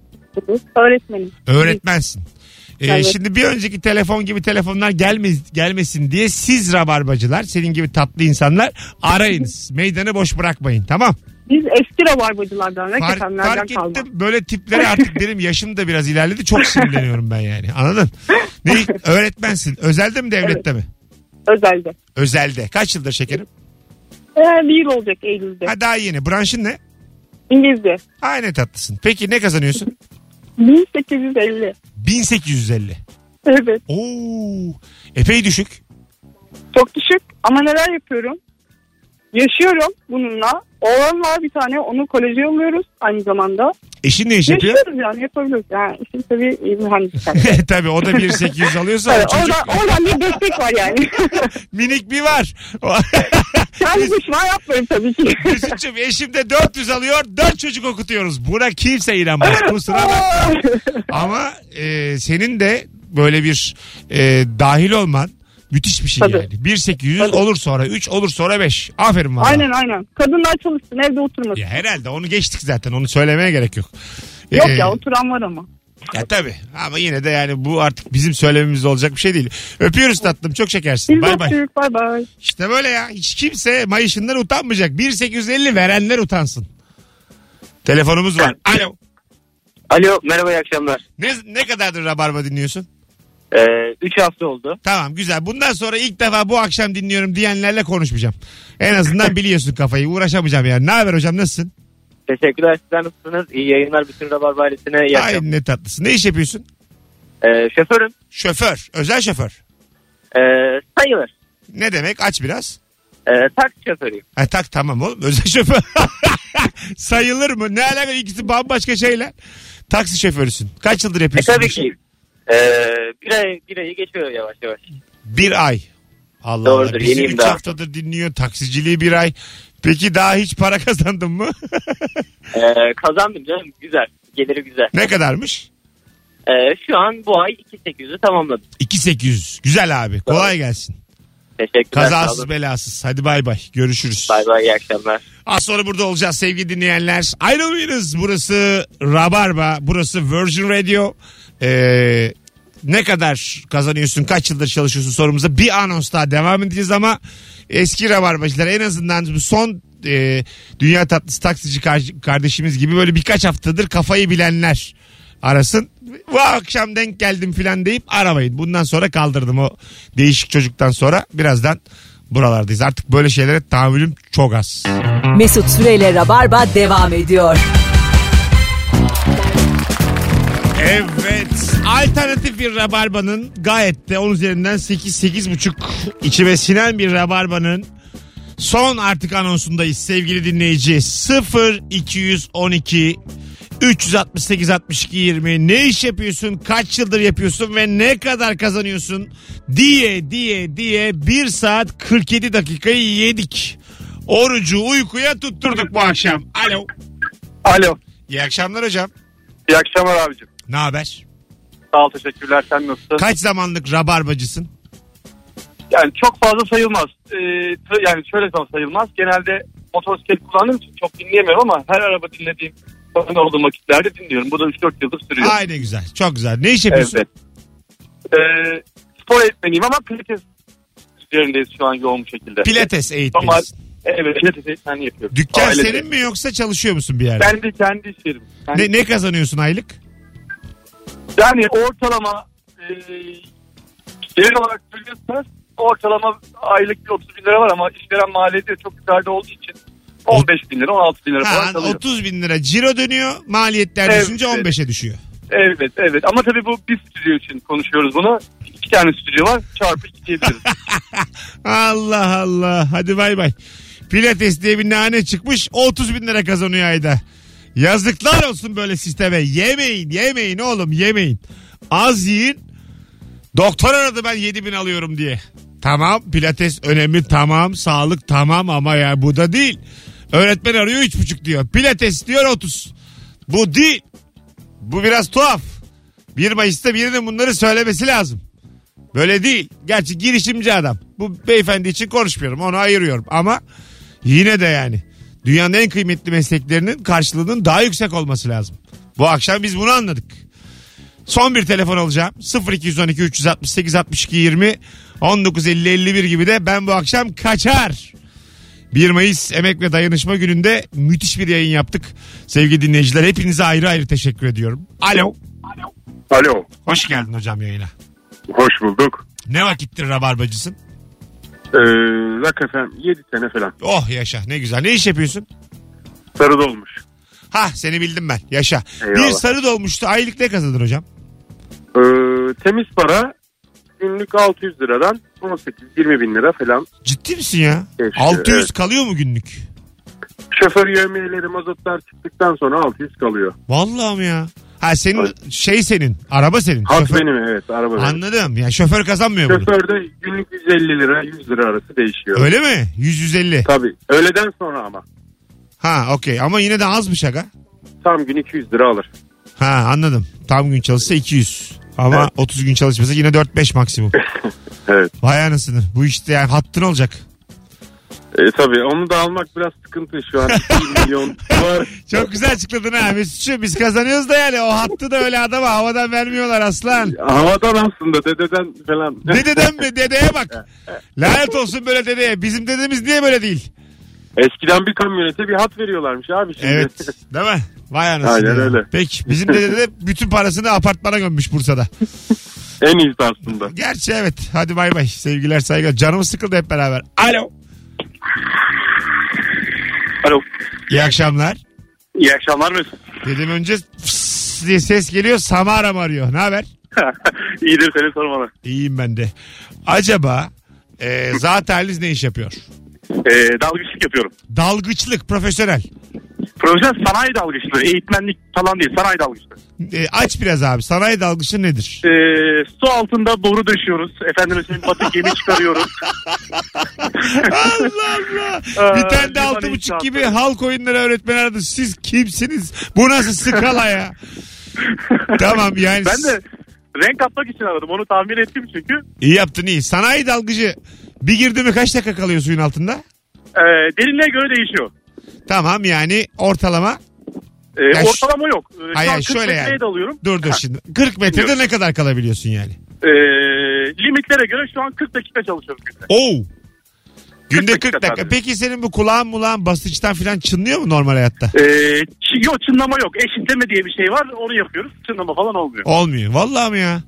Speaker 5: Öğretmenim.
Speaker 2: Öğretmensin. Ee,
Speaker 5: Evet.
Speaker 2: Şimdi bir önceki telefon gibi telefonlar gelmez, gelmesin diye siz rabarbacılar, senin gibi tatlı insanlar arayınız. Meydanı boş bırakmayın tamam.
Speaker 5: Biz eski rabarbacılardan,
Speaker 2: Fark,
Speaker 5: reketenlerden
Speaker 2: fark
Speaker 5: kalma.
Speaker 2: ettim böyle tipleri artık benim yaşım da biraz ilerledi çok sinirleniyorum ben yani anladın? Ne, öğretmensin özelde mi devlette mi?
Speaker 5: Özelde.
Speaker 2: Özelde. Kaç yıldır şekerim?
Speaker 5: Ee, bir yıl olacak Eylül'de.
Speaker 2: Ha, daha yeni. Branşın ne?
Speaker 5: İngilizce.
Speaker 2: Aynı tatlısın. Peki ne kazanıyorsun?
Speaker 5: 1850.
Speaker 2: 1850.
Speaker 5: Evet.
Speaker 2: Oo, epey düşük.
Speaker 5: Çok düşük ama neler yapıyorum? Yaşıyorum bununla. Oğlan var bir tane onu koleje yolluyoruz aynı zamanda.
Speaker 2: Eşin ne iş yapıyor?
Speaker 5: Yaşıyoruz yani yapabiliyoruz. Yani şimdi tabii iyi mühendis.
Speaker 2: Tabii o da 1800 alıyorsa
Speaker 5: Evet,
Speaker 2: o çocuk
Speaker 5: oradan, oradan bir destek var yani.
Speaker 2: minik bir var.
Speaker 5: Kendi düşman yapmıyorum tabii ki.
Speaker 2: Mesut'cum eşim de 400 alıyor. 4 çocuk okutuyoruz. Buna kimse inanmaz. Kusura bakma. Ama e, senin de böyle bir e, dahil olman Müthiş bir şey
Speaker 5: Tabii.
Speaker 2: yani. 1800 olur sonra 3 olur sonra 5. Aferin valla.
Speaker 5: Aynen aynen. Kadınlar çalışsın evde oturmasın.
Speaker 2: Ya herhalde onu geçtik zaten onu söylemeye gerek yok.
Speaker 5: Yok
Speaker 2: Ee,
Speaker 5: ya oturan var ama.
Speaker 2: Ya tabii ama yine de yani bu artık bizim söylememiz olacak bir şey değil. Öpüyoruz tatlım çok şekersin.
Speaker 5: Biz
Speaker 2: Bay bay.
Speaker 5: öptük bay bay.
Speaker 2: İşte böyle ya hiç kimse mayışından utanmayacak. 1850 verenler utansın. Telefonumuz var. Alo.
Speaker 14: Alo merhaba iyi akşamlar.
Speaker 2: Ne, ne kadardır Rabarba dinliyorsun?
Speaker 14: 3 hafta oldu.
Speaker 2: Tamam güzel. Bundan sonra ilk defa bu akşam dinliyorum diyenlerle konuşmayacağım. En azından biliyorsun kafayı. Uğraşamayacağım yani. Ne haber hocam nasılsın?
Speaker 14: Teşekkürler sizler nasılsınız? İyi yayınlar bütün Rabarba ailesine. iyi
Speaker 2: Ay
Speaker 14: akşamlar.
Speaker 2: ne tatlısın. Ne iş yapıyorsun?
Speaker 14: Ee, şoförüm.
Speaker 2: Şoför. Özel şoför.
Speaker 14: Ee, sayılır.
Speaker 2: Ne demek? Aç biraz.
Speaker 14: Ee, taksi şoförüyüm.
Speaker 2: Ha tak tamam oğlum. Özel şoför. Sayılır mı? Ne alaka? İkisi bambaşka şeyler. Taksi şoförüsün. Kaç yıldır
Speaker 14: E,
Speaker 2: yapıyorsun? bu
Speaker 14: tabii
Speaker 2: işi?
Speaker 14: ki. Ee, bir, ay, bir ayı geçiyor yavaş yavaş.
Speaker 2: Bir ay. Allah
Speaker 14: Doğrudur,
Speaker 2: Allah. Bizi
Speaker 14: yeniyim
Speaker 2: üç
Speaker 14: daha.
Speaker 2: haftadır dinliyor. Taksiciliği bir ay. Peki daha hiç para kazandın mı?
Speaker 14: Ee, kazandım canım güzel. Geliri güzel.
Speaker 2: ne kadarmış?
Speaker 14: Ee, şu an bu ay 2800'ü tamamladım.
Speaker 2: 2800. Güzel abi. Kolay gelsin.
Speaker 14: Teşekkürler. sağ
Speaker 2: Kazasız
Speaker 14: olun.
Speaker 2: belasız. Hadi bay bay. Görüşürüz.
Speaker 14: Bay bay iyi akşamlar.
Speaker 2: Az sonra burada olacağız sevgili dinleyenler. Ayrılmayınız. Burası Rabarba. Burası Virgin Radio. Ee, ne kadar kazanıyorsun, kaç yıldır çalışıyorsun sorumuza bir anons daha devam edeceğiz ama eski Rabarbacılar en azından bu son e, dünya tatlısı taksici kar- kardeşimiz gibi böyle birkaç haftadır kafayı bilenler arasın. Bu akşam denk geldim filan deyip aramayın. Bundan sonra kaldırdım o değişik çocuktan sonra. Birazdan buralardayız. Artık böyle şeylere tahammülüm çok az.
Speaker 1: Mesut Süreyle Rabarba devam ediyor.
Speaker 2: Evet. Alternatif bir rabarbanın gayet de 10 üzerinden 8-8,5 içime sinen bir rabarbanın son artık anonsundayız sevgili dinleyici. 0 212 368 62 20 ne iş yapıyorsun kaç yıldır yapıyorsun ve ne kadar kazanıyorsun diye diye diye 1 saat 47 dakikayı yedik. Orucu uykuya tutturduk bu akşam. Alo.
Speaker 15: Alo.
Speaker 2: İyi akşamlar hocam.
Speaker 15: İyi akşamlar abicim.
Speaker 2: Ne haber?
Speaker 15: Sağ ol teşekkürler sen nasılsın?
Speaker 2: Kaç zamanlık rabarbacısın?
Speaker 15: Yani çok fazla sayılmaz. Ee, tır- yani şöyle tam sayılmaz. Genelde motosiklet kullandığım için çok dinleyemiyorum ama her araba dinlediğim sorun olduğum vakitlerde dinliyorum. Bu da 3-4 yıldır sürüyor.
Speaker 2: Ay ne güzel. Çok güzel. Ne iş yapıyorsun?
Speaker 15: Evet. Ee, spor eğitmeniyim ama pilates üzerindeyiz şu an yoğun bir şekilde.
Speaker 2: Pilates eğitmeni.
Speaker 15: Normal, evet pilates eğitmenliği yapıyorum.
Speaker 2: Dükkan
Speaker 15: Ailece.
Speaker 2: senin mi yoksa çalışıyor musun bir yerde?
Speaker 15: Ben de kendi iş yerim. Kendi-
Speaker 2: Ne, ne kazanıyorsun aylık?
Speaker 15: Yani ortalama e, genel olarak söylüyorsanız ortalama aylık bir 30 bin lira var ama işveren maliyeti de çok yukarıda olduğu için 15 bin lira 16 bin lira falan
Speaker 2: Ha,
Speaker 15: kalıyor.
Speaker 2: 30 bin lira ciro dönüyor. Maliyetler
Speaker 15: Evet.
Speaker 2: düşünce 15'e düşüyor.
Speaker 15: Evet evet ama tabii bu bir stüdyo için konuşuyoruz bunu. İki tane stüdyo var çarpı iki diyebiliriz.
Speaker 2: Allah Allah. Hadi bay bay. Pilates diye bir nane çıkmış. 30 bin lira kazanıyor ayda. Yazıklar olsun böyle sisteme. Yemeyin yemeyin oğlum yemeyin. Az yiyin. Doktor aradı ben 7 bin alıyorum diye. Tamam pilates önemli tamam sağlık tamam ama ya bu da değil. Öğretmen arıyor 3,5 diyor. Pilates diyor 30. Bu değil. Bu biraz tuhaf. 1 Mayıs'ta birinin bunları söylemesi lazım. Böyle değil. Gerçi girişimci adam. Bu beyefendi için konuşmuyorum. Onu ayırıyorum. Ama yine de yani dünyanın en kıymetli mesleklerinin karşılığının daha yüksek olması lazım. Bu akşam biz bunu anladık. Son bir telefon alacağım. 0212 368 62 20 1950 51 gibi de ben bu akşam kaçar. 1 Mayıs Emek ve Dayanışma Günü'nde müthiş bir yayın yaptık. Sevgili dinleyiciler hepinize ayrı ayrı teşekkür ediyorum. Alo.
Speaker 16: Alo.
Speaker 2: Hoş geldin hocam yayına.
Speaker 16: Hoş bulduk.
Speaker 2: Ne vakittir rabarbacısın?
Speaker 16: Ee, Rock FM 7 sene falan.
Speaker 2: Oh yaşa ne güzel. Ne iş yapıyorsun?
Speaker 16: Sarı dolmuş.
Speaker 2: Ha seni bildim ben. Yaşa.
Speaker 16: Eyvallah.
Speaker 2: Bir sarı dolmuştu. Aylık ne kazanır hocam?
Speaker 16: Ee, temiz para günlük 600 liradan 18-20 bin lira falan.
Speaker 2: Ciddi misin ya?
Speaker 16: Keşke,
Speaker 2: 600
Speaker 16: evet.
Speaker 2: kalıyor mu günlük?
Speaker 16: Şoför yövmiyeleri mazotlar çıktıktan sonra 600 kalıyor.
Speaker 2: Vallahi mi ya? Ha senin şey senin. Araba senin.
Speaker 16: Hat
Speaker 2: Şoför-
Speaker 16: benim evet araba benim.
Speaker 2: Anladım. Ya şoför kazanmıyor bunu.
Speaker 16: Şoför de günlük 150 lira 100 lira arası değişiyor.
Speaker 2: Öyle mi? 100 150.
Speaker 16: Tabii. Öğleden sonra ama.
Speaker 2: Ha okey ama yine de azmış aga.
Speaker 16: Tam gün 200 lira alır.
Speaker 2: Ha anladım. Tam gün çalışsa 200. Ama 30 gün çalışmasa yine 4-5 maksimum.
Speaker 16: Evet.
Speaker 2: Vay anasını. Bu işte yani hattın olacak.
Speaker 16: E, tabii onu da almak biraz sıkıntı şu an. 2 milyon var.
Speaker 2: Çok güzel açıkladın ha Mesut'cum. Biz kazanıyoruz da yani o hattı da öyle adama havadan vermiyorlar aslan.
Speaker 16: Havadan aslında dededen falan.
Speaker 2: Dededen mi? Dedeye bak. Lanet olsun böyle dedeye. Bizim dedemiz niye böyle değil?
Speaker 16: Eskiden bir kamyonete bir hat veriyorlarmış abi şimdi.
Speaker 2: Evet. Değil mi? Vay anasını.
Speaker 16: Aynen
Speaker 2: ya.
Speaker 16: öyle.
Speaker 2: Peki bizim dede de bütün parasını apartmana gömmüş Bursa'da.
Speaker 16: En iyisi aslında.
Speaker 2: Gerçi evet. Hadi bay bay. Sevgiler saygılar. Canımız sıkıldı hep beraber. Alo.
Speaker 10: Alo.
Speaker 2: İyi akşamlar.
Speaker 10: İyi akşamlar Mesut.
Speaker 2: Dedim önce fıs diye ses geliyor. Samara mı arıyor? Ne haber?
Speaker 10: İyidir seni sormalı.
Speaker 2: İyiyim ben de. Acaba e, zat haliniz ne iş yapıyor?
Speaker 10: Ee, dalgıçlık yapıyorum.
Speaker 2: Dalgıçlık profesyonel.
Speaker 10: Profesyonel sanayi dalgıçlığı. Eğitmenlik falan değil. Sanayi dalgıçlığı.
Speaker 2: E, aç biraz abi. Sanayi dalgıçı nedir?
Speaker 10: Ee, su altında boru döşüyoruz. Efendim senin batık gemi çıkarıyoruz.
Speaker 2: Allah Allah. Bir tane de altı buçuk gibi halk oyunları öğretmeni aradı. Siz kimsiniz? Bu nasıl skala ya? tamam yani.
Speaker 10: Ben de renk atmak için aradım. Onu tahmin ettim çünkü.
Speaker 2: İyi yaptın iyi. Sanayi dalgıcı. Bir girdi mi kaç dakika kalıyor suyun altında?
Speaker 10: Ee, derinliğe göre değişiyor.
Speaker 2: Tamam yani ortalama.
Speaker 10: Ee,
Speaker 2: Ya şu-
Speaker 10: ortalama yok. Ee,
Speaker 2: Hayır,
Speaker 10: şu an
Speaker 2: hayır,
Speaker 10: 40
Speaker 2: şöyle
Speaker 10: metreye
Speaker 2: yani.
Speaker 10: dalıyorum.
Speaker 2: Dur dur şimdi. 40 metrede
Speaker 10: Biliyorum.
Speaker 2: ne kadar kalabiliyorsun yani?
Speaker 10: Ee, limitlere göre şu an 40 dakika çalışıyorum.
Speaker 2: Oo. Günde 40 dakika.
Speaker 10: sadece.
Speaker 2: Peki senin bu kulağın mulağın basınçtan falan çınlıyor mu normal hayatta?
Speaker 10: Ee, çı- yok çınlama yok. Eşitleme diye bir şey var. Onu yapıyoruz. Çınlama falan olmuyor.
Speaker 2: Olmuyor. Vallahi mi ya?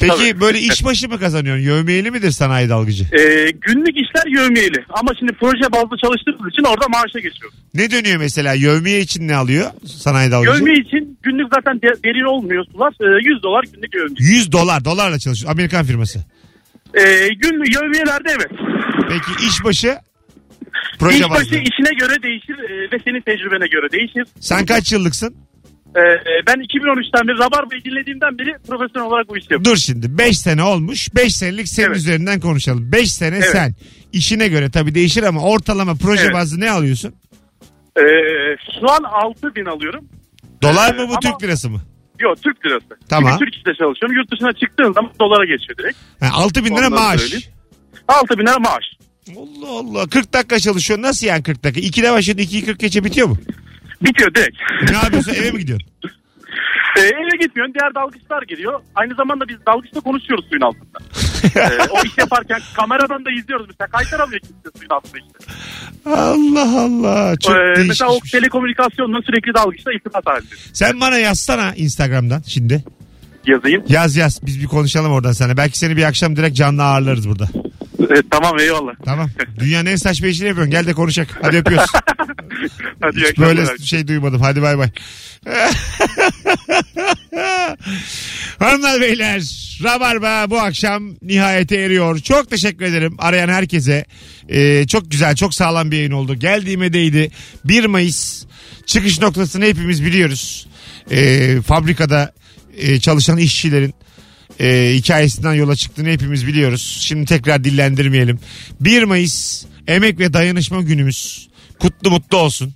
Speaker 2: Peki
Speaker 10: Tabii.
Speaker 2: böyle iş başı mı kazanıyorsun? Yövmeyeli midir sanayi dalgıcı?
Speaker 10: Ee, günlük işler yövmeyeli. Ama şimdi proje bazlı çalıştığımız için orada maaşa geçiyoruz.
Speaker 2: Ne dönüyor mesela? Yövmeye için ne alıyor sanayi dalgıcı?
Speaker 10: Yövme için günlük zaten de- derin olmuyor sular. Ee, 100 dolar günlük yövme.
Speaker 2: 100 dolar. Dolarla çalışıyor. Amerikan firması.
Speaker 10: Ee, günlük yövmiyelerde evet.
Speaker 2: Peki iş başı? Proje
Speaker 10: İş başı
Speaker 2: bazlı.
Speaker 10: işine göre değişir e, ve senin tecrübene göre değişir.
Speaker 2: Sen kaç yıllıksın?
Speaker 10: Ee, ben 2013'ten beri Rabarba'yı dinlediğimden beri profesyonel olarak bu işi yapıyorum.
Speaker 2: Dur şimdi 5 sene olmuş. 5 senelik senin üzerinden konuşalım. 5 sene
Speaker 10: Evet.
Speaker 2: sen. İşine göre tabii değişir ama ortalama proje
Speaker 10: Evet.
Speaker 2: bazlı ne alıyorsun?
Speaker 10: Ee, şu an 6000 alıyorum.
Speaker 2: Dolar
Speaker 10: Ee,
Speaker 2: mı bu
Speaker 10: ama-
Speaker 2: Türk lirası mı?
Speaker 10: Yok Türk lirası.
Speaker 2: Tamam.
Speaker 10: Çünkü Türk işinde çalışıyorum. Yurt dışına çıktığın zaman dolara geçiyor direkt.
Speaker 2: Ha, 6 bin lira
Speaker 10: Ondan
Speaker 2: maaş.
Speaker 10: söyleyeyim. 6 bin lira maaş.
Speaker 2: Allah Allah. 40 dakika çalışıyor. Nasıl yani 40 dakika? 2'de başladın 2'yi 40 geçe bitiyor mu?
Speaker 10: Bitiyor direkt.
Speaker 2: Ne yapıyorsun? Eve mi gidiyorsun?
Speaker 10: Ee, eve gitmiyorsun. Diğer dalgıçlar geliyor. Aynı zamanda biz dalgıçla konuşuyoruz suyun altında. Ee, o iş yaparken kameradan da izliyoruz. Mesela kaytaramıyor kimse suyun altında işte.
Speaker 2: Allah Allah. Çok
Speaker 10: Ee,
Speaker 2: değişik.
Speaker 10: mesela o telekomünikasyonla sürekli dalgıçla irtibat halinde.
Speaker 2: Sen bana yazsana Instagram'dan şimdi.
Speaker 10: Yazayım.
Speaker 2: Yaz yaz. Biz bir konuşalım oradan sana. Belki seni bir akşam direkt canlı ağırlarız burada.
Speaker 10: Ee, tamam eyvallah.
Speaker 2: Tamam. Dünyanın en saçma işini yapıyorsun. Gel de konuşak. Hadi öpüyoruz.
Speaker 10: Hadi iyi
Speaker 2: Hiç böyle
Speaker 10: akşamlar.
Speaker 2: şey duymadım. Hadi bay bay. Hanımlar beyler Rabarba bu akşam nihayete eriyor. Çok teşekkür ederim arayan herkese. Ee, çok güzel çok sağlam bir yayın oldu. Geldiğime değdi. 1 Mayıs çıkış noktasını hepimiz biliyoruz. Ee, fabrikada e, çalışan işçilerin e, hikayesinden yola çıktığını hepimiz biliyoruz. Şimdi tekrar dillendirmeyelim. 1 Mayıs emek ve dayanışma günümüz. Kutlu mutlu olsun.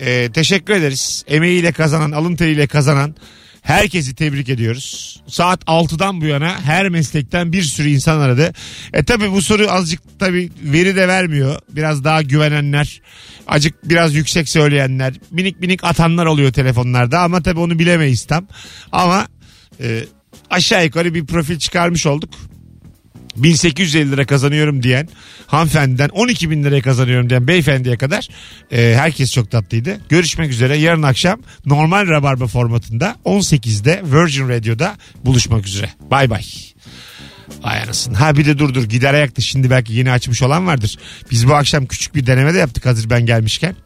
Speaker 2: Ee, teşekkür ederiz. Emeğiyle kazanan, alın teriyle kazanan herkesi tebrik ediyoruz. Saat 6'dan bu yana her meslekten bir sürü insan aradı. E tabi bu soru azıcık tabi veri de vermiyor. Biraz daha güvenenler, acık biraz yüksek söyleyenler, minik minik atanlar oluyor telefonlarda ama tabi onu bilemeyiz tam. Ama e, aşağı yukarı bir profil çıkarmış olduk. 1850 lira kazanıyorum diyen hanımefendiden 12 bin liraya kazanıyorum diyen beyefendiye kadar e, herkes çok tatlıydı. Görüşmek üzere yarın akşam normal rabarba formatında 18'de Virgin Radio'da buluşmak üzere. Bay bay. Vay anasını. Ha bir de dur dur gider ayakta şimdi belki yeni açmış olan vardır. Biz bu akşam küçük bir deneme de yaptık hazır ben gelmişken.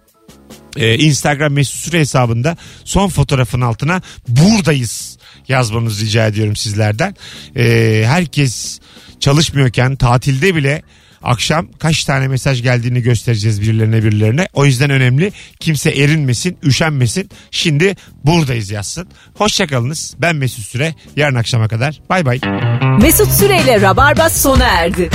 Speaker 2: Ee, Instagram mesut süre hesabında son fotoğrafın altına buradayız yazmanızı rica ediyorum sizlerden. Ee, herkes çalışmıyorken tatilde bile akşam kaç tane mesaj geldiğini göstereceğiz birilerine birilerine. O yüzden önemli kimse erinmesin, üşenmesin. Şimdi buradayız yazsın. Hoşçakalınız. Ben Mesut Süre. Yarın akşama kadar. Bay bay.
Speaker 1: Mesut Süreyle Rabarba sona erdi.